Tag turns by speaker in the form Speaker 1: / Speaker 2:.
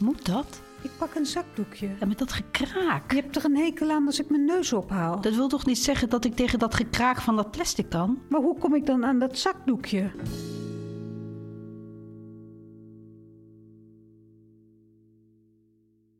Speaker 1: Moet dat?
Speaker 2: Ik pak een zakdoekje.
Speaker 1: Ja, met dat gekraak.
Speaker 2: Je hebt er een hekel aan als ik mijn neus ophaal.
Speaker 1: Dat wil toch niet zeggen dat ik tegen dat gekraak van dat plastic kan?
Speaker 2: Maar hoe kom ik dan aan dat zakdoekje?